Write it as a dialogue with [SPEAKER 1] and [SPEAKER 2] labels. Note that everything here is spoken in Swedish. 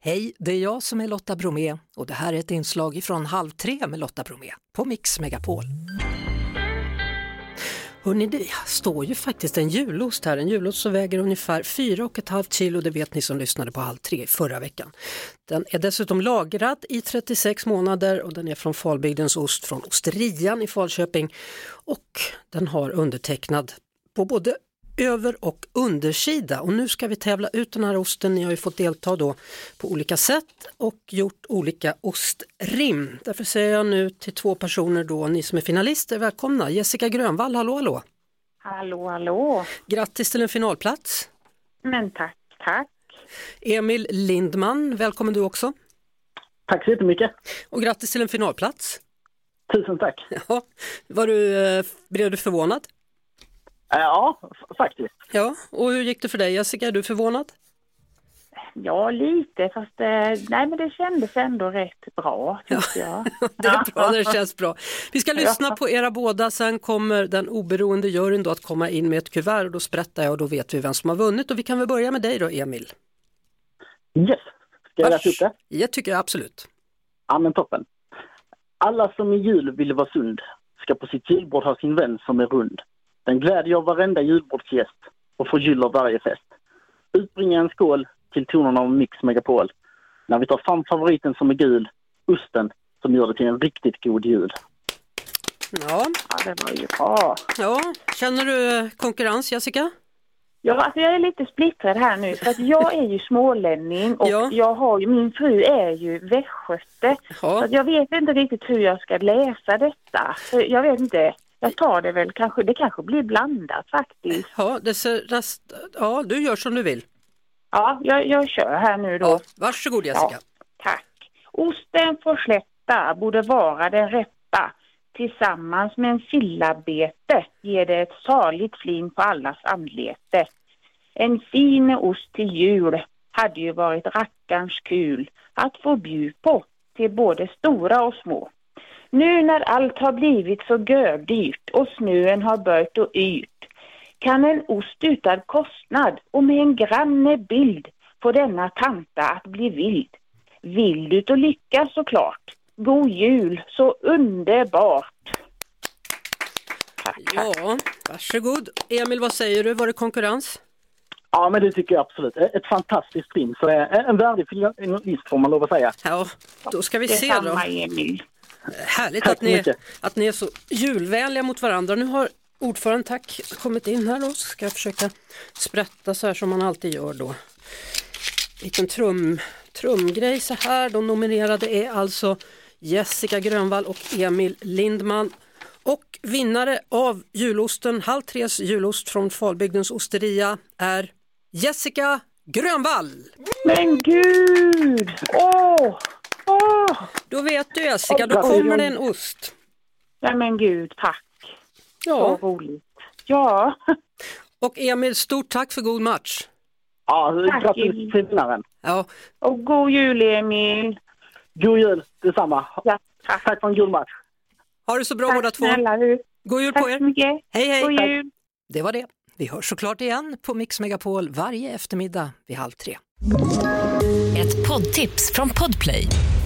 [SPEAKER 1] Hej, det är jag som är Lotta Bromé och det här är ett inslag från Halv tre med Lotta Bromé på Mix Megapol. Hörrni, det står ju faktiskt en julost här, en julost som väger ungefär 4,5 kilo, det vet ni som lyssnade på Halv tre förra veckan. Den är dessutom lagrad i 36 månader och den är från Falbygdens ost från Osterian i Falköping och den har undertecknad på både över och undersida och nu ska vi tävla ut den här osten. Ni har ju fått delta då på olika sätt och gjort olika ostrim. Därför säger jag nu till två personer då, ni som är finalister, välkomna. Jessica Grönvall, hallå hallå!
[SPEAKER 2] Hallå, hallå.
[SPEAKER 1] Grattis till en finalplats!
[SPEAKER 2] Men tack, tack.
[SPEAKER 1] Emil Lindman, välkommen du också
[SPEAKER 3] Tack så jättemycket.
[SPEAKER 1] och grattis till en finalplats!
[SPEAKER 3] Tusen tack. Eh,
[SPEAKER 1] Ja, var du, eh, blev du förvånad?
[SPEAKER 3] Ja, f- faktiskt.
[SPEAKER 1] Ja, och hur gick det för dig Jessica, är du förvånad?
[SPEAKER 2] Ja, lite, fast eh, nej, men det kändes ändå rätt bra, tyckte jag.
[SPEAKER 1] Det är bra, det känns bra. Vi ska lyssna på era båda, sen kommer den oberoende juryn då att komma in med ett kuvert och då sprättar jag och då vet vi vem som har vunnit och vi kan väl börja med dig då Emil?
[SPEAKER 3] Yes. Ska jag läsa upp det?
[SPEAKER 1] Jag tycker jag absolut.
[SPEAKER 3] Ja, men toppen. Alla som i jul vill vara sund ska på sitt julbord ha sin vän som är rund. Den glädjer varenda julbordsgäst och förgyller varje fest. Utbringa en skål till tonerna av Mix Megapol när vi tar fram favoriten som är gul, osten som gör det till en riktigt god jul.
[SPEAKER 1] Ja,
[SPEAKER 2] Ja, det var ju bra.
[SPEAKER 1] ja. känner du eh, konkurrens Jessica?
[SPEAKER 2] Ja, alltså jag är lite splittrad här nu, för att jag är ju smålänning och
[SPEAKER 1] Ja.
[SPEAKER 2] jag har ju, min fru är ju västgöte. Så
[SPEAKER 1] Ja.
[SPEAKER 2] att jag vet inte riktigt hur jag ska läsa detta. Så Jag vet inte, jag tar det väl kanske, det kanske blir blandat faktiskt.
[SPEAKER 1] Ja, det ser rest... ja, du gör som du vill.
[SPEAKER 2] Ja, jag, jag kör här nu då.
[SPEAKER 1] Ja, varsågod Jessica.
[SPEAKER 2] Tack. Osten får slätta borde vara den rätta. Tillsammans med en sillabete ger det ett saligt flin på allas anlete. En fin ost till jul hade ju varit rackarns kul att få bjud på till både stora och små. Nu när allt har blivit så gördyrt och snön har börjat och yrt kan en ost utan kostnad och med en granne bild få denna tanta att bli vild. Vill du och lycka såklart. God jul, så underbart. Tack, tack.
[SPEAKER 1] Ja, varsågod. Emil, vad säger du, var det konkurrens?
[SPEAKER 3] Ja, men det tycker jag absolut. Ett ett fantastiskt rim. Så eh, en värdig finalist får man lov att säga.
[SPEAKER 1] Ja, då ska vi se då.
[SPEAKER 2] Detsamma Emil.
[SPEAKER 1] Härligt
[SPEAKER 3] Tack
[SPEAKER 1] att ni,
[SPEAKER 3] mycket.
[SPEAKER 1] att ni är så julvänliga mot varandra. Nu har ordföranden, tack, kommit in här då. Så Ska jag försöka sprätta så här som man alltid gör då. Liten trum, trumgrej så här. De nominerade är alltså Jessica Grönvall och Emil Lindman. Och vinnare av julosten, halv tres julost från Falbygdens osteria är Jessica Grönvall.
[SPEAKER 2] Men gud! Åh! Åh!
[SPEAKER 1] Då vet du Jessica, då
[SPEAKER 3] Grattis.
[SPEAKER 1] kommer det en ost.
[SPEAKER 2] Ja men gud, tack.
[SPEAKER 1] Ja.
[SPEAKER 2] Så roligt. Ja,
[SPEAKER 1] Och Emil, stort tack för god match.
[SPEAKER 3] Ja,
[SPEAKER 2] Tack,
[SPEAKER 3] grattis
[SPEAKER 2] Emil.
[SPEAKER 3] till vinnaren.
[SPEAKER 1] Ja,
[SPEAKER 2] och god jul Emil.
[SPEAKER 3] God jul detsamma.
[SPEAKER 2] Ja, tack.
[SPEAKER 3] Tack för en god match.
[SPEAKER 1] ha det så bra båda
[SPEAKER 2] Tack
[SPEAKER 1] två.
[SPEAKER 2] snälla du.
[SPEAKER 1] God jul på
[SPEAKER 2] Tack så
[SPEAKER 1] er.
[SPEAKER 2] mycket.
[SPEAKER 1] Hej, hej.
[SPEAKER 2] God jul.
[SPEAKER 1] Det var det. Vi hörs såklart igen på Mix Megapol varje eftermiddag vid halv tre.
[SPEAKER 4] Ett poddtips från Podplay.